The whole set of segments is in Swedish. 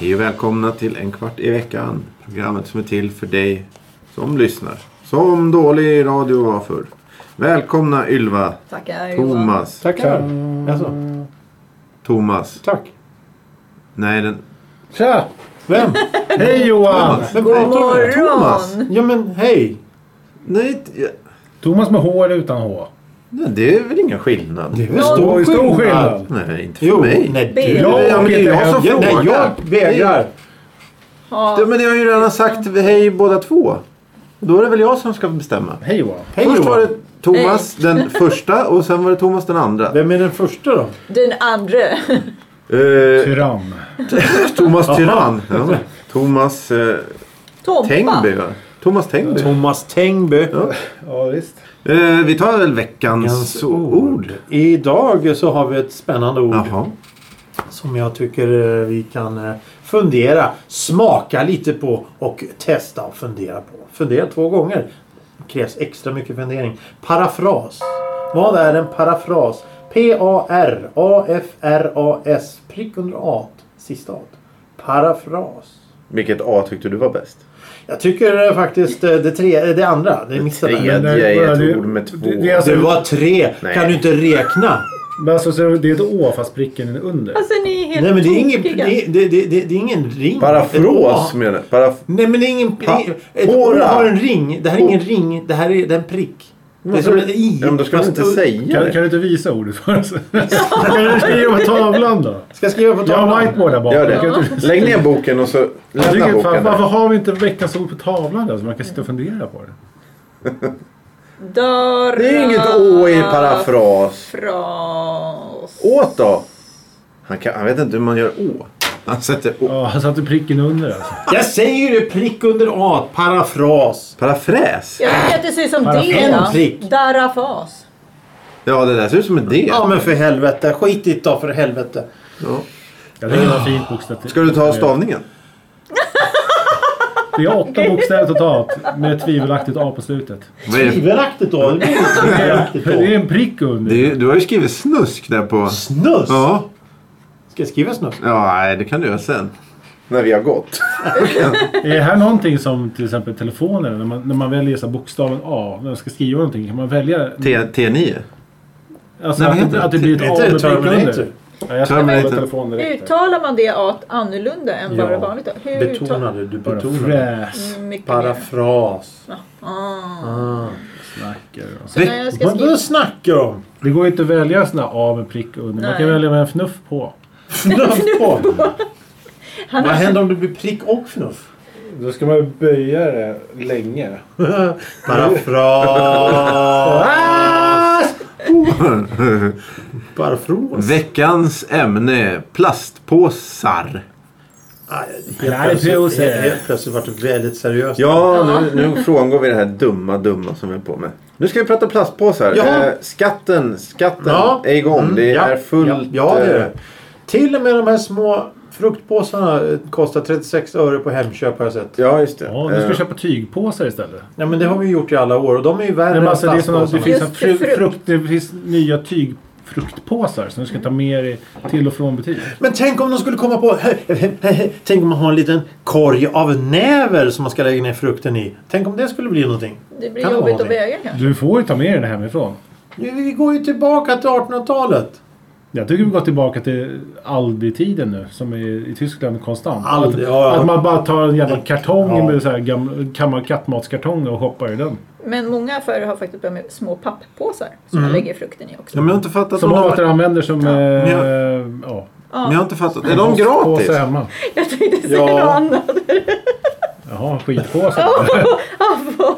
Hej och välkomna till En kvart i veckan. Programmet som är till för dig som lyssnar. Som dålig radio var förr. Välkomna Ylva, Tackar. Johan. Thomas, Tackar. Alltså, Thomas. tack. Nej, den... Tja! Vem? Hej Johan! Vem God pratar du med? Thomas. morgon! Ja men hej! Nej, inte- ja, Thomas med H eller utan H? nej, det är väl ingen skillnad. Det är väl Det stor, är stor skillnad. Nej, inte för Jo, mig. nej B. du. Ja, Jag, men det är jag som jag, nej, frågar. jag vägrar. Ja, men jag har ju redan sagt hej båda två. Då är det väl jag som ska bestämma. Hej Johan. Hej Först var Johan. det Thomas den första och sen var det Thomas den andra. Vem är den första då? Den andra. Eh, Tyrann. Thomas Tyrann. Ja. Thomas eh, Tompa. Tengby va? Thomas Tengby. Thomas Tengby. Ja. Ja visst. Eh, vi tar väl Alltså, veckans ord. Idag så har vi ett spännande ord Jaha. som jag tycker eh, vi kan eh, fundera, smaka lite på och testa och fundera på. Fundera två gånger. Det krävs extra mycket fundering. Parafras. Vad är en parafras? P-A-R-A-F-R-A-S. Prick under A. Sista A. Parafras. Vilket A tyckte du var bäst? Jag tycker eh, faktiskt eh, det, tre, eh, det andra. Det missade tredje. jag. Men det- Jag är ett det- ord med två. Det, det, är alltså, Det var tre. Nej. Kan du inte räkna? men alltså, så det är ett Å fast pricken är under. Alltså ni är helt Nej men det är ingen, tokiga. det, det, det, det, det är ingen ring. Parafras menar jag. Paraf- Nej men det är ingen... Pa- ett Hora. hår har en ring. Det här är ingen ring. Det här är, det är en prick. Det är som ett i. Ja, men då ska man Fast inte du- säga Kan, kan det. du inte visa ordet för oss? kan du skriva på tavlan då? Ska jag skriva på Jag har tavlan? whiteboard där bak. Gör Kan du det. inte- Lägg ner boken och så Jag lämna tycker, boken. fan, varför där. har vi inte veckans ord på tavlan då? Så man kan sitta och fundera på det. Dörra... Det är inget Å i parafras. Fras. Åt då? Han, kan, han vet inte hur man gör Å. Han sätter Å. Ja, han satte pricken under alltså. Jag säger ju det. Prick under A. Parafras. Parafräs? Jag tycker att det ser ut som Parafras. D. En prick. då. Darafas. Ja, det där ser ut som ett D. Ja men för helvete. Skit i det då för helvete. Ja. Jag tycker det var fint bokstavligt. Ska du ta stavningen? Det är åtta bokstäver totalt med ett tvivelaktigt A på slutet. Vad är det? Tvivelaktigt då. Det blir inte tvivelaktigt Det är då. en prick under. Det är ju- Du har ju skrivit snusk där på... Snus. Ja. Ska jag skriva snus? Ja, nej, det kan du göra sen. När vi har gått. Är det här någonting som till exempel telefonen, när man, när man väljer så här bokstaven A, när man ska skriva någonting, kan man välja T, T9. alltså, Nej, vad att, heter det, det? att det blir ett A Heter det med prick Terminator? under? Ja, jag ska Terminator. kolla telefonen direkt. Uttalar man det A annorlunda än vad Ja. det är vanligt? Hur uttalar- Betonade. Du Bara betonade. fräs. Mycket mer. Parafras. Ah. Ah. snackar du om. Så när jag ska Vad skriva... vad snackar du om? Det går ju inte att välja sådana A med prick under. Man Nej. kan välja med en fnuff på. Fnuff på. Han Vad har- händer om det blir prick och fnuff? Då ska man ju böja det länge. Parafras! Parafras? Veckans ämne. Plastpåsar. Plastpåse. Helt plötsligt vart det väldigt seriöst. Ja, nu, nu frångår vi det här dumma, dumma som vi är på med. Nu ska vi prata plastpåsar. Ja. Eh, skatten skatten Ja. är igång. Mm, Det ja, är fullt... Ja, ja det eh, är det. Till och med de här små fruktpåsarna eh, kostar 36 öre på Hemköp har jag sett. ja, just det. Ja, nu ska vi Eh, köpa tygpåsar istället. Ja men det har vi gjort i alla år och de är ju värre Nej, men än alltså, det, är såna, det, plastpåsarna. finns Just fru, frukt. frukt, det finns nya tygfruktpåsar som du Mm. ska ta med dig till och från butik. Men tänk om de skulle komma på... Tänk om man har en liten korg av näver som man ska lägga ner frukten i. Tänk om det skulle bli någonting. Det blir Kan vara jobbigt att någonting? väga kanske. Du får ju ta med dig den hemifrån. Vi vi går ju tillbaka till 1800-talet. Jag tycker vi går tillbaka till Aldi-tiden nu, som är i Tyskland konstant. Aldi, att, ja, ja. att man bara tar en jävla kartong Ja. med så här gammal, gammal kattmatskartong och hoppar i den. Men många affärer har faktiskt börjat med små papppåsar som Mm. man lägger frukten i också. Ja, men jag har inte fattat. Som om man de- återanvänder som... Ja. men jag- Eh, ja. Men jag har inte fattat. Är de gratis? Påse hemma. Jag tänkte säga Ja. något annat. Jaha, skitpåse.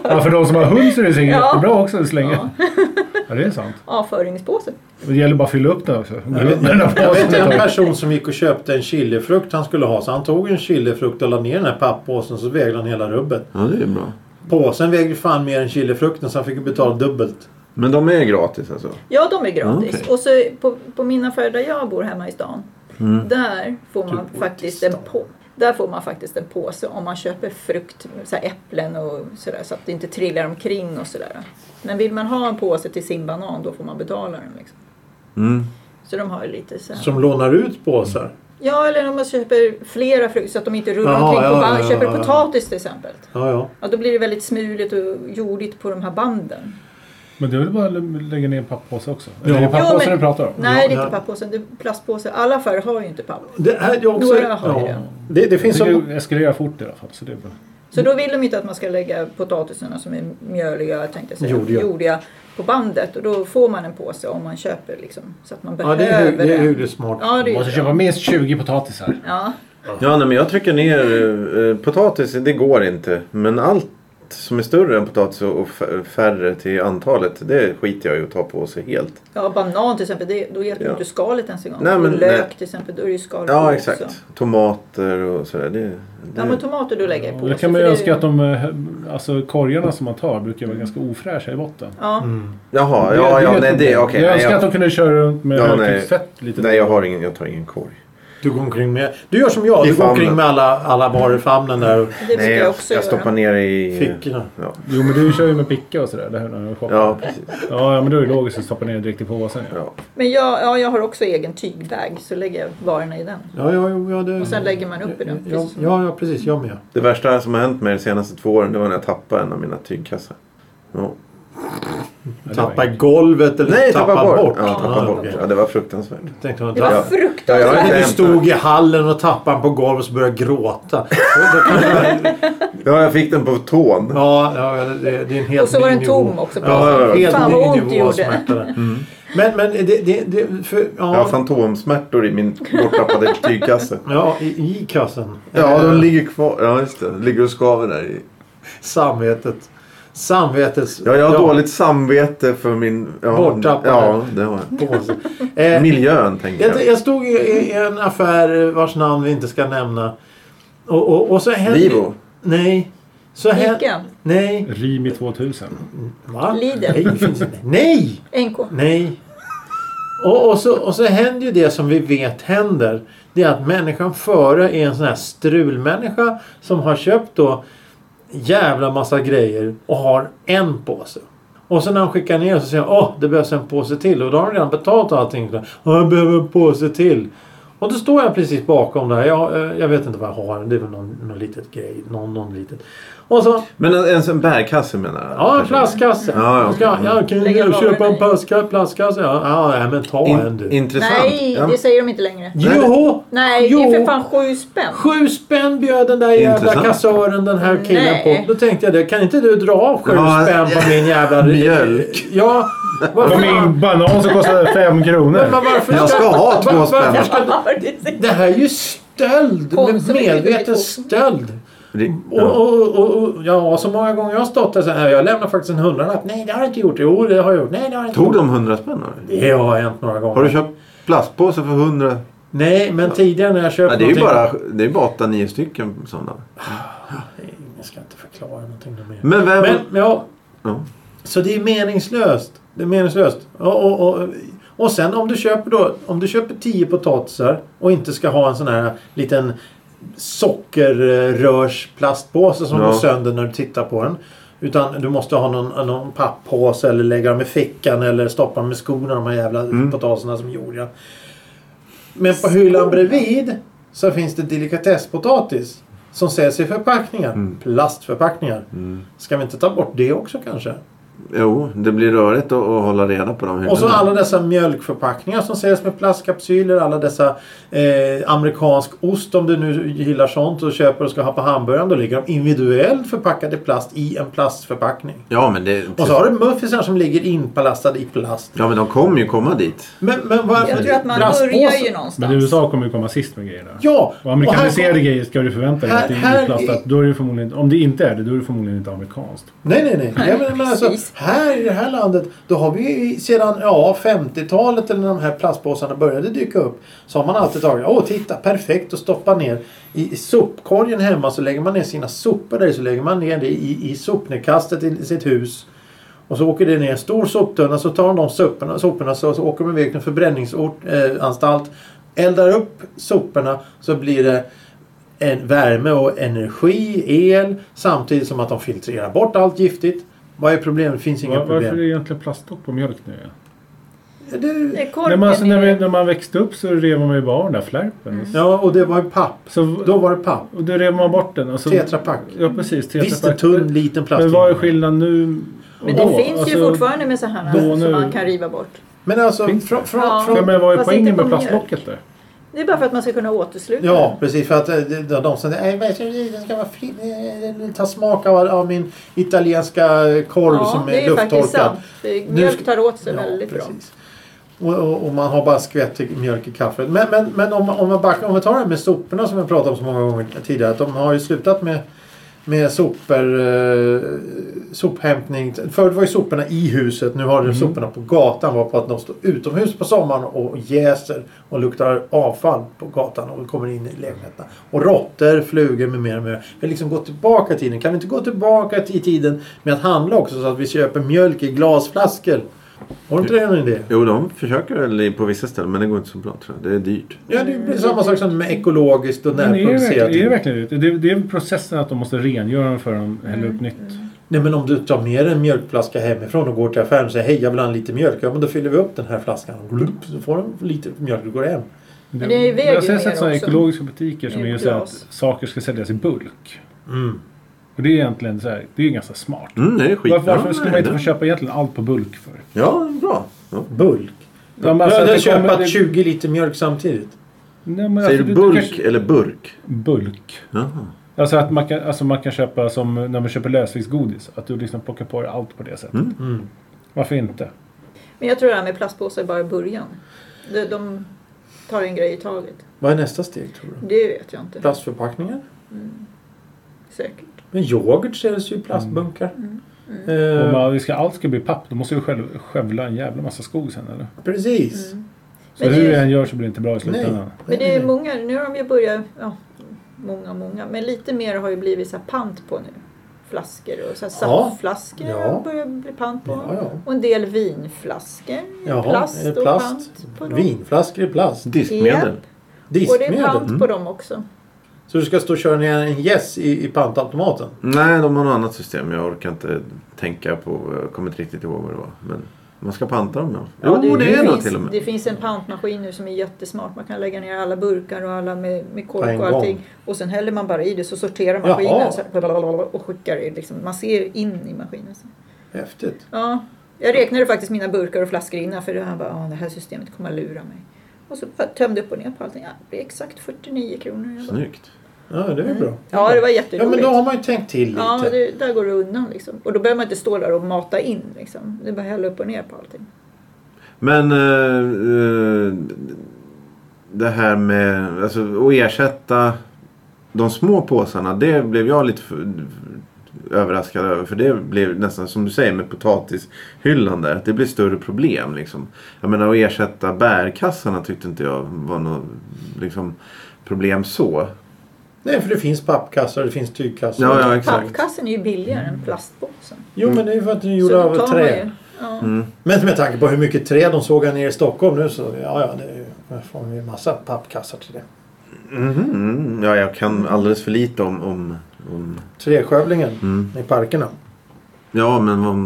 ja, för de som har hund så är det säkert Ja. jättebra också att slänga. Ja. det är sant. Avföringspåse. Det gäller bara att fylla upp den också. Jag vet, Den här jag vet påsen. en person som gick och köpte en chilifrukt han skulle ha. Så han tog en chilifrukt och la ner den här papppåsen så vägde han hela rubbet. Ja, det är bra. Påsen vägde fan mer än chilifrukten så han fick ju betala dubbelt. Men de är gratis alltså? Ja, de är gratis. Okej. Och så på, på min affär där jag bor hemma i stan Där får man Typ faktiskt en poetiskt. på, Där får man faktiskt en påse om man köper frukt, så här äpplen och sådär så att det inte trillar omkring och sådär. Men vill man ha en påse till sin banan då får man betala den liksom. Mm. Så de har ju lite så här. Som lånar ut påsar. Ja, eller om man köper flera frukter så att de inte rullar Jaha, omkring. ja, på band. ja, köper ja, ja. potatis till exempel. Ja, ja. Ja, då blir det väldigt smuligt och jordigt på de här banden. Men det är väl bara att lägga ner en papppåse också? Ja. Eller är det Jo, papppåsen men- du pratar om? Nej, det är ja. inte pappåsen. Det är plastpåse. Alla affärer har ju inte papp. Det, här, jag också, Några har ju ja. det. det, det Jag finns tycker som... det eskalerar fort i alla fall, så det är bra. Så då vill de inte att man ska lägga potatisarna som är mjöliga, tänkte jag säga, Jordiga. jordiga på bandet. Och då får man en påse om man köper liksom. Så att man Ja, behöver det är, hu- det är den. hyggligt smart. Ja, det Man är måste ju bra. köpa minst 20 potatisar. Ja, Ja, nej, men jag trycker ner eh, potatis, det går inte. Men allt som är större än potatis och f- färre till antalet, det skiter jag i att ta på sig helt. ja, banan till exempel, det, då hjälper ju Ja. inte skalet ens en gång. Nej, men- och lök nej. till exempel, då är det ju skal på Ja, också. exakt. Tomater och sådär. Det, Ja, men det, tomater då lägger jag i Och påse. det kan för man ju det är önska att de, eh, alltså korgarna som man tar brukar vara ganska ofräscha i botten. Ja, Mm. jaha, Det- ja, är ja, ett nej, det, problem. okej. jag nej, önskar att jag, de kunde köra runt med Ja, nej. högtrycksfett lite. nej, jag har ingen, jag tar ingen korg. Du går omkring med... Du gör som jag. I Du går famnen. omkring med alla, alla varor i famnen där. och det brukar Nej, jag jag, också jag stoppar göra. ner i... Fickorna. Ja, Jo, men du kör ju med picka och sådär. Det här när du shoppar. ja precis. Ja, ja, men då är det logiskt att stoppa ner det direkt i påsen. Ja. Ja. Men jag, ja, jag har också egen tygbag, så lägger jag varorna i den. Ja, ja, jo, ja, det... Och sen lägger man upp i den. Ja, precis som- ja, ja, precis. Jag med. Det värsta som har hänt mig de senaste två åren, det var när jag tappade en av mina tygkassar. Ja. det var Tappa inget. golvet eller Nej, tappa, tappa bort. Ah, bort. Ja, tappa bort. okej. Ja, det var fruktansvärt. Tänkte man, Det var Ja. fruktansvärt. Ja, När jag- du stod i hallen och tappade den på golvet och började gråta. Då- då kan man- Ja, jag fick den på tån. ja, ja, det, det är en helt Och så var ny den nivå. tom också. På Ja, ja, ja. helt Helt Fan vad ny ont det nivå av gjorde. smärta där. Mm. Men, men det... det, det för, Jag har ja, fantomsmärtor i min borttappade tygkasse. ja, i, i kassen. Ja, Eh, de ligger kvar. Ja, just det. De ligger och skaver där. i. Samvetet. Samvetets... Ja, jag har dåligt samvete för min... Ja, Borttappade. Ja, det har jag. påse. Eh, Miljön, tänker Jag, jag. jag stod i, i en affär vars namn vi inte ska nämna. Och, och, och så hände... Vivo. Nej. Så hände... Ica, Nej. Rimi 2000. Va? Lidl. Nej, det finns inte. Nej! NK. Nej. Och, och, så, och så händer ju det som vi vet händer. Det är att människan före är en sån här strulmänniska som har köpt då jävla massa grejer och har en påse. Och sen när han skickar ner så säger han åh det behövs en påse till och då har han redan betalt allting. Så, Åh, jag behöver en påse till. Och då står jag precis bakom där. Jag, eh, jag vet inte vad jag har. Det är väl någon, någon litet grej. Någon, någon litet. Och så Men en, en, en bärkasse menar jag. Ja, en Kanske. plastkasse. Ja, ja. Ska, ja, kan Lägger jag köpa varorna en i. plastkasse? plastkasse? Ja, ja, nej, men ta en In, du. intressant. Nej, Ja. det säger de inte längre. Jo! Nej, det är för fan sju spänn. Sju spänn bjöd den där jävla Intressant. kassören den här killen Nej. på. Då tänkte jag det. Kan inte du dra av sju Ja, spänn på min jävla... mjölk. Ja. Det Varför, var min banan som kostade 5 men kronor. varför Jag ska ha två var- spänn. varför ska- Det här är ju stöld. Konstigt, Med vilket medveten metod. stöld. Det- Och, och, och, och, ja, så många gånger jag har stått där så här. Jag lämnar faktiskt en hundralapp. Nej, det har jag inte gjort. Jo, det har jag gjort. Nej, det har jag inte Tog gjort. de 100 spänn av dig? Det har hänt några gånger. Har du köpt plastpåse för 100? Nej, men tidigare när jag köpte Ja, det är ju någonting- bara, det är ju bara 8-9 stycken sådana. Nej, Jag ska inte förklara någonting mer. Men vem... Men, ja. Ja. Så det är meningslöst. Det är meningslöst. Och, och, och, och sen om du köper då, om du köper 10 potatisar och inte ska ha en sån här liten sockerrörsplastpåse som Ja. går sönder när du tittar på den. Utan du måste ha någon, någon papppåse eller lägga dem i fickan eller stoppa dem i skorna de här jävla potatisarna som jordiga. Men på hyllan bredvid så finns det delikatesspotatis som säljs i förpackningar. Plastförpackningar. Ska vi inte ta bort det också kanske? Jo, det blir rörigt att, att hålla reda på de hyllorna. Och så alla dessa mjölkförpackningar som säljs med plastkapsyler. Alla dessa eh, amerikansk ost om du nu gillar sånt och köper och ska ha på hamburgaren. Då ligger de individuellt förpackade i plast i en plastförpackning. Ja, men det... Och så har du muffisar som ligger inpalastade i plast. Ja, men de kommer ju komma dit. Men, men varför? Jag tror att man plastpåsar? börjar ju Men någonstans. USA kommer ju komma sist med grejerna. Ja! Och amerikaniserade här kom- grejer ska du förvänta dig Här- att det här är plastat. i- Då är det förmodligen, om det inte är det, då är det förmodligen inte amerikanskt. Nej, nej, nej. nej men, men alltså, precis. här i det här landet, då har vi ju sedan ja, 50-talet eller när de här plastpåsarna började dyka upp. Så har man alltid tagit, åh titta, perfekt och stoppa ner i, i sopkorgen hemma så lägger man ner sina sopor där så lägger man ner det i, i sopnedkastet i sitt hus. Och så åker det ner en stor soptunna så tar de de soporna, soporna så, så åker de iväg till en förbränningsanstalt eh, eldar upp soporna så blir det en värme och energi, el, samtidigt som att de filtrerar bort allt giftigt. Vad är problemet? Det finns inga Var, varför är problem. det egentligen plastlock på mjölk nu? Ja? Det... Det är Mm. korken Nej, men alltså, när, i- vi, när man växte upp så rev man ju bara av den där flärpen. Ja, och det var ju papp. Så, Då var det papp. och då rev man bort den. Alltså, Tetra Pak. Ja, precis. Tetra Visst, en Pak. tunn liten plast. Men vad är skillnaden nu och Men det då? finns ju Alltså, fortfarande med så här då som nu- man kan riva bort. Men alltså, Finns det? från, från, Ja. Ja, från, men vad är Fast poängen inte med på mjölk. plastlocket där? Det är bara för att man ska kunna återsluta Ja, precis. För att eh, de, de som säger att den ska vara fri, eh, ta smak av, av min italienska korv Ja, som det är är faktiskt lufttorkad. sant. Det- Nu Mjölk ska- tar åt sig Ja, väldigt bra. precis. Och, och, och man har bara skvätt till mjölk i kaffet. Men, men, men om, om, man backar, om vi tar det här med soporna som jag pratat om så många gånger tidigare. Att de har ju slutat med, med sopor, eh, sophämtning. Förut var ju soporna i huset. Nu Mm. har de soporna på gatan. Var på att de står utomhus på sommaren och jäser och luktar avfall på gatan och kommer in i lägenheterna. Och råttor, flugor med mera. Med mera. Vi har liksom gått tillbaka i tiden. Kan vi inte gå tillbaka i tiden med att handla också så att vi köper mjölk i glasflaskor? Har du inte det en idé? Jo, de försöker väl på vissa ställen men det går inte så bra tror jag. Det är dyrt. Ja, det blir samma sak som med ekologiskt och Men är det, närproducerat. verkligen- är det verkligen det? Det, det är väl processen att de måste rengöra den för de häller Mm. upp nytt. Nej, men om du tar med dig en mjölkflaska hemifrån och går till affären och säger hej, jag vill ha en liten mjölk. Ja, men då fyller vi upp den här flaskan. Glupp, så får du lite mjölk och går hem. Men det är ju väg jag har ju sett mer sådana också. ekologiska butiker som I är ju så här att glas. saker ska säljas i bulk. Mm. Och det är egentligen så här, det är ju ganska smart. Mm, det är skit. Varför, varför Ja, skulle man nej, inte få det- köpa egentligen allt på bulk för? Ja, bra. Ja. Bulk. Ja, men Jag alltså att hade det kommer- köpt det- 20 liter mjölk samtidigt. Nej, men Säger du alltså, det- det bulk kanske- eller burk? Bulk. Jaha. Alltså att man kan, alltså man kan köpa som när man köper lösviktsgodis. Att du liksom plockar på dig allt på det sättet. Mm. Varför inte? Men jag tror det här med plastpåsar är bara i början. De, de tar en grej i taget. Vad är nästa steg tror du? Det vet jag inte Plastförpackningar? säkert. Men yoghurt säljs ju i plastbunkar. Mm. Eh, Om man, vi ska, allt ska bli papp, då måste vi själv, skövla en jävla massa skog sen eller? Mm. Precis. Så Men det- hur det än gör så blir det inte bra i Nej. slutändan. Men det Nej, är nej. ju många, nu har de ju börjat, ja, många, många, men lite mer har ju blivit så här pant på nu. Flaskor och så här Ja. saftflaskor Ja. börjar bli pant på. Ja, ja. Och en del vinflaskor. Jaha, plast är det och plast? pant på dem. Vinflaskor i plast. Diskmedel. Japp. Och det är Diskmedel. pant på dem också. Så du ska stå och köra ner en gäss i, i pantautomaten? Nej, de har något annat system. Jag orkar inte tänka på. Jag kommer inte riktigt ihåg vad det var. Men man ska panta dem. Ja. jo, det, är nog finns, till och med. det finns en pantmaskin nu som är jättesmart. Man kan lägga ner alla burkar och alla med, med På kork en och allting. Och sen häller man bara i det så sorterar maskinen Jaha. så här, blablabla, och skickar det. Liksom, man ser in i maskinen. Så. Häftigt. Ja, jag räknade faktiskt mina burkar och flaskor innan för det här, bara, "Ah, det här systemet kommer att lura mig. Och så bara tömde upp och ner på allting. Ja, det blir exakt 49 kronor. Jag bara, Snyggt. Ja, det är väl bra. Mm. ja, det var Ja, men jätteroligt. då har man ju tänkt till lite. Ja, men det, där går det undan liksom. Och då behöver man inte stå där och mata in liksom. Det är bara att hälla upp och ner på allting. Men eh, eh, det här med alltså, att ersätta de små påsarna. Det blev jag lite för, överraskad över. För det blev nästan som du säger med potatishyllan där. Att det blir större problem. Liksom. Jag menar att ersätta bärkassarna tyckte inte jag var något liksom, problem så. Nej, för det finns pappkassar det finns tygkassar. Ja, ja exakt. Pappkassen är ju billigare än plastpåsen. Jo, men det är ju för att det är Så gjorda då av tar man trä. Mm. ju- Ja. Men med tanke på hur mycket trä de sågar ner i Stockholm nu så ja, ja, det är ju, där får vi ju massa pappkassar till det. Mhm. Ja, jag kan alldeles för lite om... om, om Träskövlingen Mm. i parkerna. ja, men vad,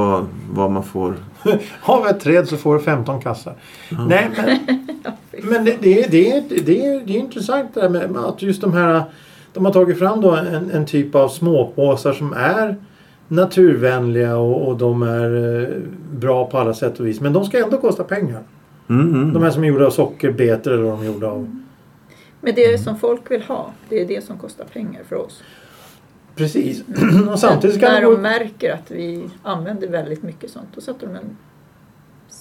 vad, vad man får. Har vi ett träd så får du 15 kassar. Nej, men, men det, det, är- det, är- det, är- det är intressant det där med, med att just de här de har tagit fram då en, en typ av småpåsar som är naturvänliga och, och de är eh, bra på alla sätt och vis. Men de ska ändå kosta pengar. Mm, mm. De här som är gjorda av sockerbetor eller de är gjorda av... Men det som folk vill ha, det är det som kostar pengar för oss. Precis. Och samtidigt ska när de... de gå- märker att vi använder väldigt mycket sånt, då sätter de en,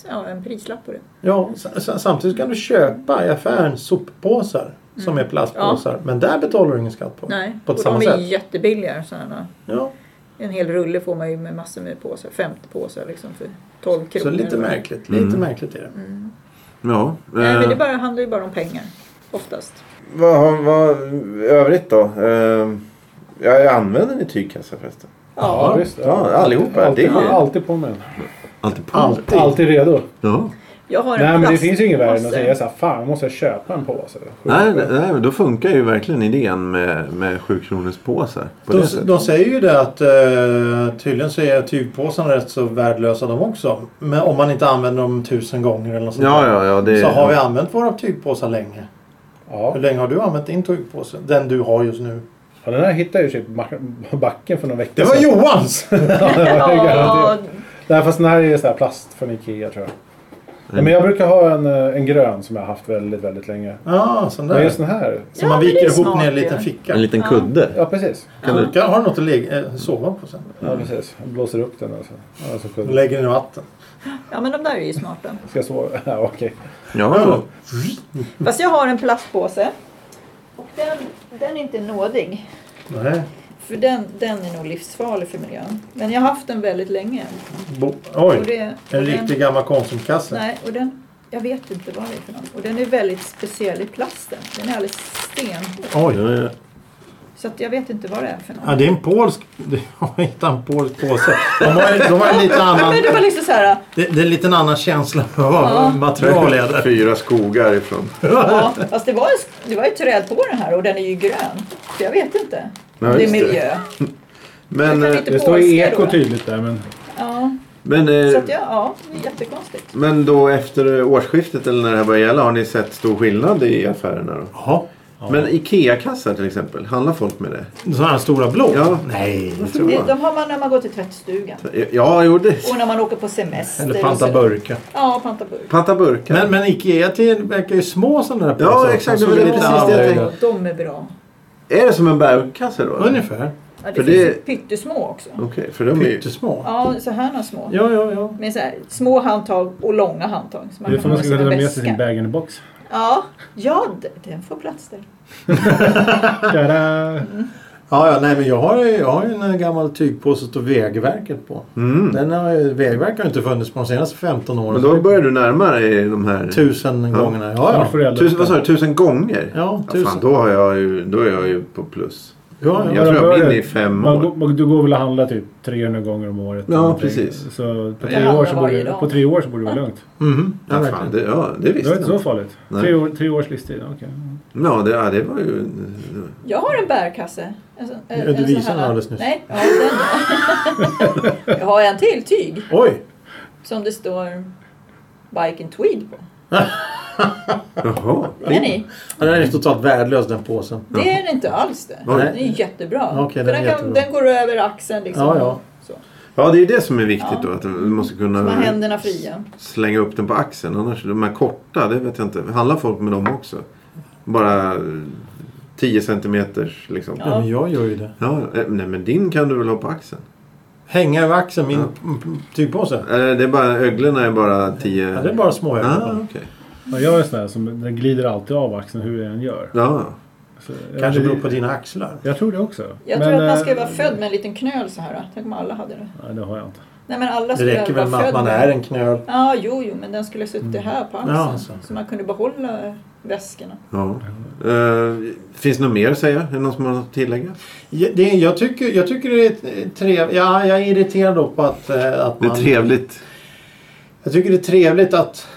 ja, en prislapp på det. Ja, sa- sa- samtidigt kan du köpa i affären soppåsar som är plastpåsar. Men där betalar du ingen skatt på. Mm. Nej, På och ett samma de är sätt. jättebilliga. Sådana. Ja. En hel rulle får man ju med massor med påsar, 50 påsar liksom för 12 kronor. Mm. Så lite märkligt. Lite märkligt är det. Ja. Nej, men eh, det bara, handlar ju bara om pengar, oftast. Vad, har- vad övrigt då? Eh, ja, jag använder ni tygkassar förresten? Ja, visst. Ja, allihopa. Alltid, Det är- alltid på med den. Alltid på. Alltid. Alltid redo. Ja. Jag har en Nej men det plastpåse. finns ju ingen värre än att säga såhär, fan måste jag köpa en påse. Nej, nej, men då funkar ju verkligen idén med, med 7 kronors påsar. På det De, sättet. de säger ju det att eh, tydligen så är tygpåsarna rätt så värdelösa de också. Men om man inte använder dem tusen gånger eller något sånt Ja, där. ja, ja. Det, Så har vi använt våra tygpåsar länge. Ja. Hur länge har du använt din tygpåse? Den du har just nu. ja. Den här hittade jag ju typ back- backen för någon vecka Det var sedan. Johans! Ja, det var ju Ja, garanterat. Nej fast den här är ju så här plast från Ikea tror jag. Nej, men jag brukar ha en, eh, en grön som jag har haft väldigt, väldigt länge. Ja, sån Men där. just den här. Ja, Som man men det viker är ihop smart ner i en ju. liten ficka. En liten Ja. kudde. Ja precis. Kan du, Kan, har du något att lägga, eh, sova på sen? Ja precis. Jag blåser upp den alltså. Ja, så Då kunde- Lägger den i vatten. ja, men de där är ju smarta. Ska jag sova? Ja, okej. ja, Fast jag har en plastpåse. Och den, den är inte nådig. Nej. För den, den är nog livsfarlig för miljön. Men jag har haft den väldigt länge. Bo- Och Oj! det, och En den, riktig gammal Konsumkasse. Nej, och den... Jag vet inte vad det är för någon. Och den är väldigt speciell i plasten. Den är alldeles stenhård. ja, Oj! ja. Så att jag vet inte vad det är för någon. Ja, det är en polsk... Jag har hittat en polsk påse. De har, de har en liten annan... Men det var liksom så här... Det, det är en liten annan känsla för vad Ja. material är det. Fyra skogar ifrån. Ja, fast det var, ju, det var ju träd på den här och den är ju grön. Så jag vet inte. Ja, det är just det. miljö. Men, Jag kan eh, inte- Det står ju Polska då, eko typ. va? tydligt där men. Ja, men, så eh, att ja, ja, det är jättekonstigt. men då efter årsskiftet eller när det här börjar gälla har ni sett stor skillnad i affärerna då? Jaha. Men IKEA-kassar till exempel, handlar folk med det? Sådana här stora blå? Ja. Nej, det tror Det, jag de har man när man går till tvättstugan. Ja, jo det. Och när man åker på semester. Eller och så- panta burkar. Ja, panta burk. Panta burkar. Men, men Ikea tillverkar ju små sådana där Ja, påsar. exakt, Som det var ser det precis Alltså, lite det jag annorlunda tänkte. ut. De är bra. Är det som en bärkasse då? eller? Ungefär. Ja, det För finns det- Mm. pyttesmå också. Okej, för de är ju... Pyttesmå. Ja, så här några små. Ja, ja, ja. Med så här, små handtag och långa handtag. Så man Det kan är för ha man ska som en kunna ta med väska. sig sin bag in the box. Ja, ja, d- den får plats där. Tada! Ja, ja, nej men jag har, ju- jag har ju en gammal tygpåse och Vägverket på. Mm. Den har ju, Vägverket har ju inte funnits på de senaste 15 åren. Men då börjar du närma dig de här... Tusen Ja. gångerna. Ja, Snart får ja. du elda upp Tusen, vad sa den. du? Tusen gånger? Ja, Ja, fan, tusen. då, har jag ju, då är jag ju på plus. Ja, Jag ja. tror jag börjar- är inne i fem Man, år. går- man, du går väl och handlar typ 300 gånger om året. Ja, eller någonting. precis. Så på Jag tre, handlar år så varje borde, dag. på tre år så borde det vara lugnt. Mhm. Ja, Ja, fan, verkligen. det, ja, det Det var visste inte så jag. farligt. Nej. Tre, år, tre års livstid, okej. Ja, det, ja, det var ju... Jag har en bärkasse. En, sån- en, Ja, du en sån visade här- den alldeles nyss. Nej, ja, den. jag har en till tyg Oj! som det står Bike and Tweed på. Jaha. Är ni? Ja, Den är ju totalt värdelös den påsen. Det är det inte alls det. Nej. Den är jättebra. Okej, För den är den, kan, jättebra. den går över axeln liksom. Ja, ja. Så. Ja, det är ju det som är viktigt Ja. då. Att du måste Man har kunna händerna fria. slänga upp den på axeln. Annars, de här korta, det vet jag inte. Handlar folk med dem också? Bara 10 centimeters liksom. Ja. Ja, men jag gör ju det. Ja, eh, nej men din kan du väl ha på axeln? Hänga över axeln, min mm, tygpåse. Eller det är bara, öglorna är bara 10... Ja, det är bara små Ah, ögon. okej. Ja, jag är en sån där som den glider alltid av axeln hur jag än gör. Ja. Så, jag- Kanske beror på dina axlar. Jag tror det också. Jag tror att man ska eh, vara född med en liten knöl så här. Tänk om alla hade det. Nej, det har jag inte. Nej men alla Det skulle räcker vara väl med att född man med- är en knöl. Ja, jo, jo, men den skulle ha suttit här på axeln. Ja, alltså. Så man kunde behålla väskorna. ja. Eh, finns det något mer att säga? Är det någon som har något att tillägga? Ja, Det, jag, tycker, jag tycker det är trevligt. Ja, jag är irriterad då på att, eh, att Det är man... trevligt. Jag tycker det är trevligt att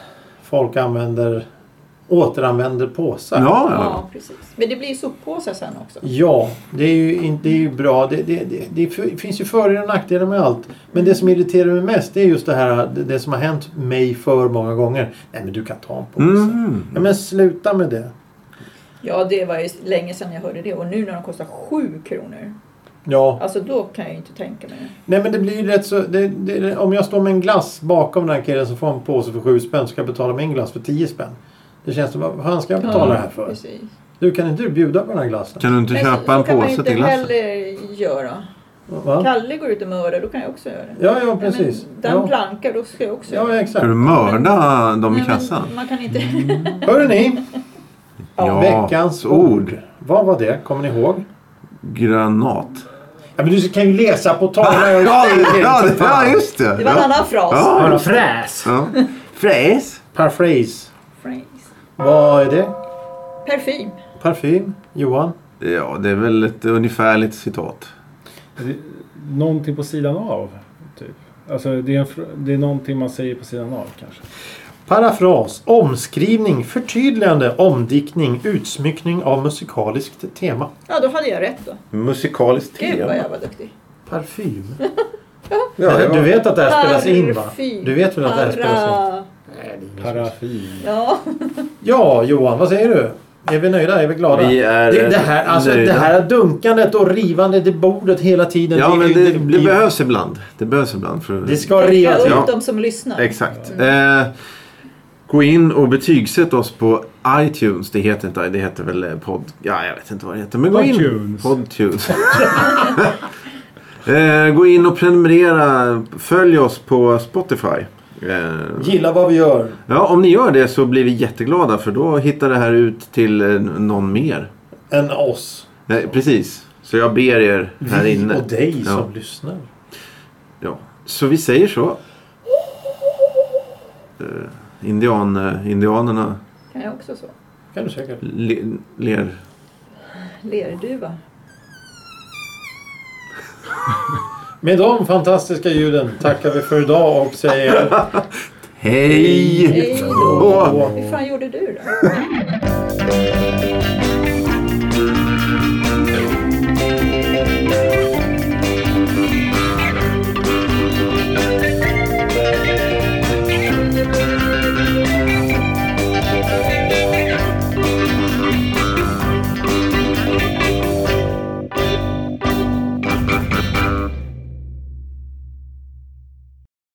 folk använder, återanvänder påsar. Ja, Ja, ja. precis. Men det blir ju soppåsar sen också. Ja, det är ju, in- det är ju bra. Det, det, det, det f- finns ju fördelar och nackdelar med allt. Men det som irriterar mig mest det är just det här det, det som har hänt mig för många gånger. Nej men du kan ta en påse. Mm. Ja, men sluta med det. Ja, det var ju länge sedan jag hörde det. Och nu när de kostar 7 kronor. Ja, Alltså då kan jag ju inte tänka mig det. nej men det blir ju rätt så... Det, det, om jag står med en glass bakom den här killen som får en påse för sju spänn så ska jag betala min glass för tio spänn. Det känns som, vad fan ska jag betala det här för? Precis. Du kan inte du bjuda på den här glassen? Kan du inte Men så- köpa en så kan man ju påse inte till glassen? heller göra. Va? Kalle går ut och mördar, då kan jag också göra det. Ja, ja Nej, precis. Men den Ja, plankar, då ska jag också ja göra det. Ska exakt. du mörda dem i Nej, men kassan? Man kan inte... Mm. Hörrni! Ja, Veckans ord. Vad var det? Kommer ni ihåg? Granat. Ja, men du kan ju läsa på tavlan. Jag Ja, har ju det- fel, ja, för det- ja, fan. just det. Det var en Ja. annan fras. Ja. Har du fräs? Ja. Fräs. Paraphrase. Phrase. Vad är det? Parfym. Parfym? Johan? Ja, det är väl ett ungefärligt citat. Någonting på sidan av, typ. Alltså, det är, en, fr- det är någonting man säger på sidan av kanske. Parafras, omskrivning, förtydligande, omdiktning, utsmyckning av musikaliskt tema. Ja, då hade jag rätt då. Musikaliskt Gud tema. vad jag var duktig. Parfym. Ja, jag du var... vet att det här spelas in va? Parfym. Du vet väl att det här spelas in? Para. Nej, det är ingen som- Paraffin. Ja, Ja, Johan, vad säger du? Är vi nöjda? Är vi glada? Vi är, det, det, eh, här, alltså, nöjda. det här dunkandet och rivandet i bordet hela tiden. ja, men det, det blir- behövs ibland. Det behövs ibland. För... Det ska jag rivas. upp Ja. de som lyssnar. Exakt. Eh, gå in och betygsätt oss på iTunes. Det heter inte det heter väl eh, podd... Ja, jag vet inte vad det heter. Men gå in. Podtunes. Podtunes. eh, gå in och prenumerera. Följ oss på Spotify. Eh, Gilla vad vi gör. ja, om ni gör det så blir vi jätteglada för då hittar det här ut till eh, någon mer. Än oss. Nej, precis. Så jag ber er här vi inne. och dig Ja. som lyssnar. Ja. Så vi säger så. Eh, Indian, eh, indianerna Kan jag också så? kan du säkert. le, ler. Lerduva. Med de fantastiska ljuden tackar vi för idag och säger... Hej! Hej då. Åh. Hur fan gjorde du då?